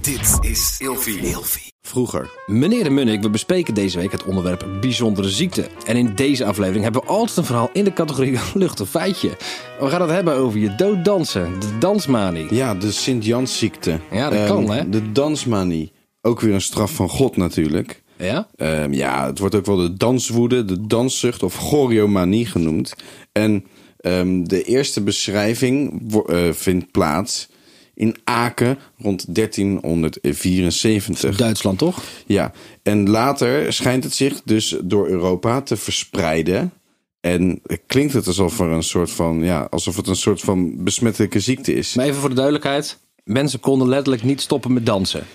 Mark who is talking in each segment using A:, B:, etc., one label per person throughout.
A: Dit is Ilfi.
B: Vroeger.
C: Meneer de Munnik, we bespreken deze week het onderwerp bijzondere ziekte. En in deze aflevering hebben we altijd een verhaal in de categorie lucht of feitje. We gaan het hebben over je dooddansen, de dansmanie.
B: Ja, de Sint-Jansziekte.
C: Ja, dat kan, hè?
B: De dansmanie. Ook weer een straf van God natuurlijk.
C: Ja?
B: Ehm, ja, het wordt ook wel de danswoede, de danszucht of choreomanie genoemd. En ehm, de eerste beschrijving wo- eh, vindt plaats in Aken rond 1374.
C: Duitsland toch?
B: Ja, en later schijnt het zich dus door Europa te verspreiden. En klinkt het alsof, er een soort van, ja, alsof het een soort van besmettelijke ziekte is.
C: Maar even voor de duidelijkheid. Mensen konden letterlijk niet stoppen met dansen.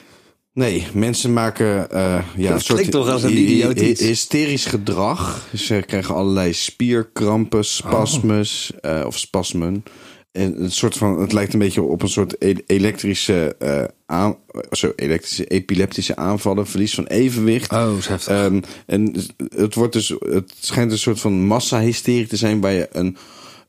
B: Nee, mensen maken eh, ja, een soort
D: klinkt toch als een
B: hy- hy-
D: idioot iets.
B: hysterisch gedrag. Ze krijgen allerlei spierkrampen, spasmes
D: Oh.
B: eh, of spasmen. En een soort van, het lijkt een beetje op een soort e- elektrische, eh, aan, zo, elektrische epileptische aanvallen, verlies van evenwicht.
C: Oh, is heftig.
B: Ehm, en het, wordt dus, het schijnt een soort van massahysterie te zijn waar je een,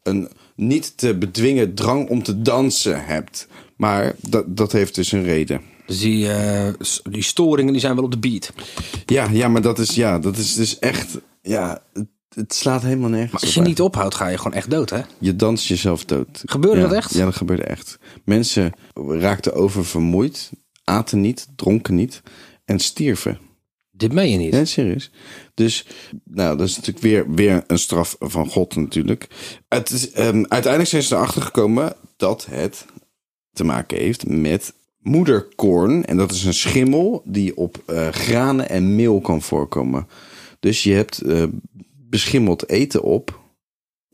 B: een niet te bedwingen drang om te dansen hebt. Maar dat, dat heeft dus een reden.
C: Dus die, eh, s- die storingen die zijn wel op de beat.
B: Ja, ja maar dat is, ja, dat is dus echt. Ja, het, het slaat helemaal nergens.
C: Maar als
B: op
C: je
B: eigenlijk.
C: niet ophoudt, ga je gewoon echt dood, hè?
B: Je danst jezelf dood.
C: Gebeurde
B: Ja,
C: dat echt?
B: Ja, dat gebeurde echt. Mensen raakten oververmoeid, aten niet, dronken niet en stierven.
C: Dit meen je niet.
B: Ja, serieus. Dus, nou, dat is natuurlijk weer, weer een straf van God natuurlijk. Het is, ehm, uiteindelijk zijn ze erachter gekomen dat het te maken heeft met moederkorn. En dat is een schimmel die op eh, granen en meel kan voorkomen. Dus je hebt eh, beschimmeld eten op.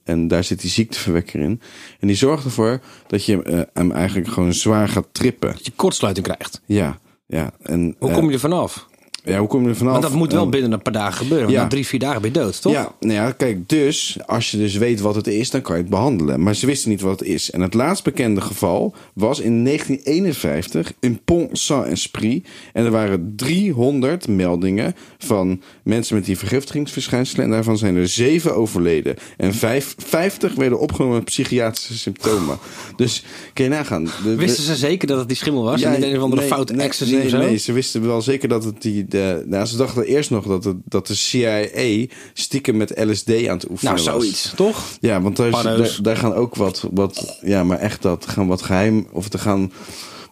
B: En daar zit die ziekteverwekker in. En die zorgt ervoor dat je eh, hem eigenlijk gewoon zwaar gaat trippen.
C: Dat je kortsluiting krijgt.
B: Ja, ja. En,
C: Hoe
B: eh,
C: kom je er vanaf?
B: ja, hoe kom je er vanaf? Ehm,
C: Want dat moet wel
B: En-
C: binnen een paar dagen gebeuren. Want
B: ja.
C: na drie, vier dagen ben je dood, toch?
B: Ja, nou ja, kijk, dus als je dus weet wat het is, dan kan je het behandelen. Maar ze wisten niet wat het is. En het laatst bekende geval was in 1951 in Pont-Saint-Esprit. En er waren 300 meldingen van mensen met die vergiftigingsverschijnselen. En daarvan zijn er 7 overleden. En vijf, 50 werden opgenomen met psychiatrische symptomen. Dus kun je nagaan. De- de-
C: Wisten ze zeker dat het die schimmel was? en niet een of andere
B: nee,
C: foute
B: nee,
C: ecstasy
B: nee,
C: of zo? Nou,
B: Nee, ze wisten wel zeker dat het die... De, nou, ze dachten eerst nog dat, het, dat de CIA stiekem met LSD aan het oefenen was.
C: nou, zoiets, toch?
B: Ja, want daar, is-
C: Paddo's.
B: daar, daar gaan ook wat, wat... Ja, maar echt dat. Gaan wat geheim... Of er gaan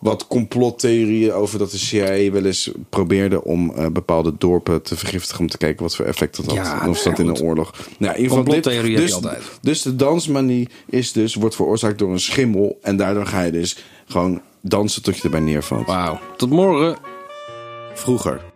B: wat complottheorieën over dat de CIA wel eens probeerde om eh, bepaalde dorpen te vergiftigen om te kijken wat voor effect dat had.
C: Ja,
B: en of dat in
C: goed.
B: een oorlog. Nou, in ieder geval dit-
C: Complottheorieën
B: dus,
C: heb je altijd.
B: dus de dansmanie is dus, wordt veroorzaakt door een schimmel en daardoor ga je dus gewoon dansen tot je erbij neervalt.
C: Wauw. Tot morgen.
B: Vroeger.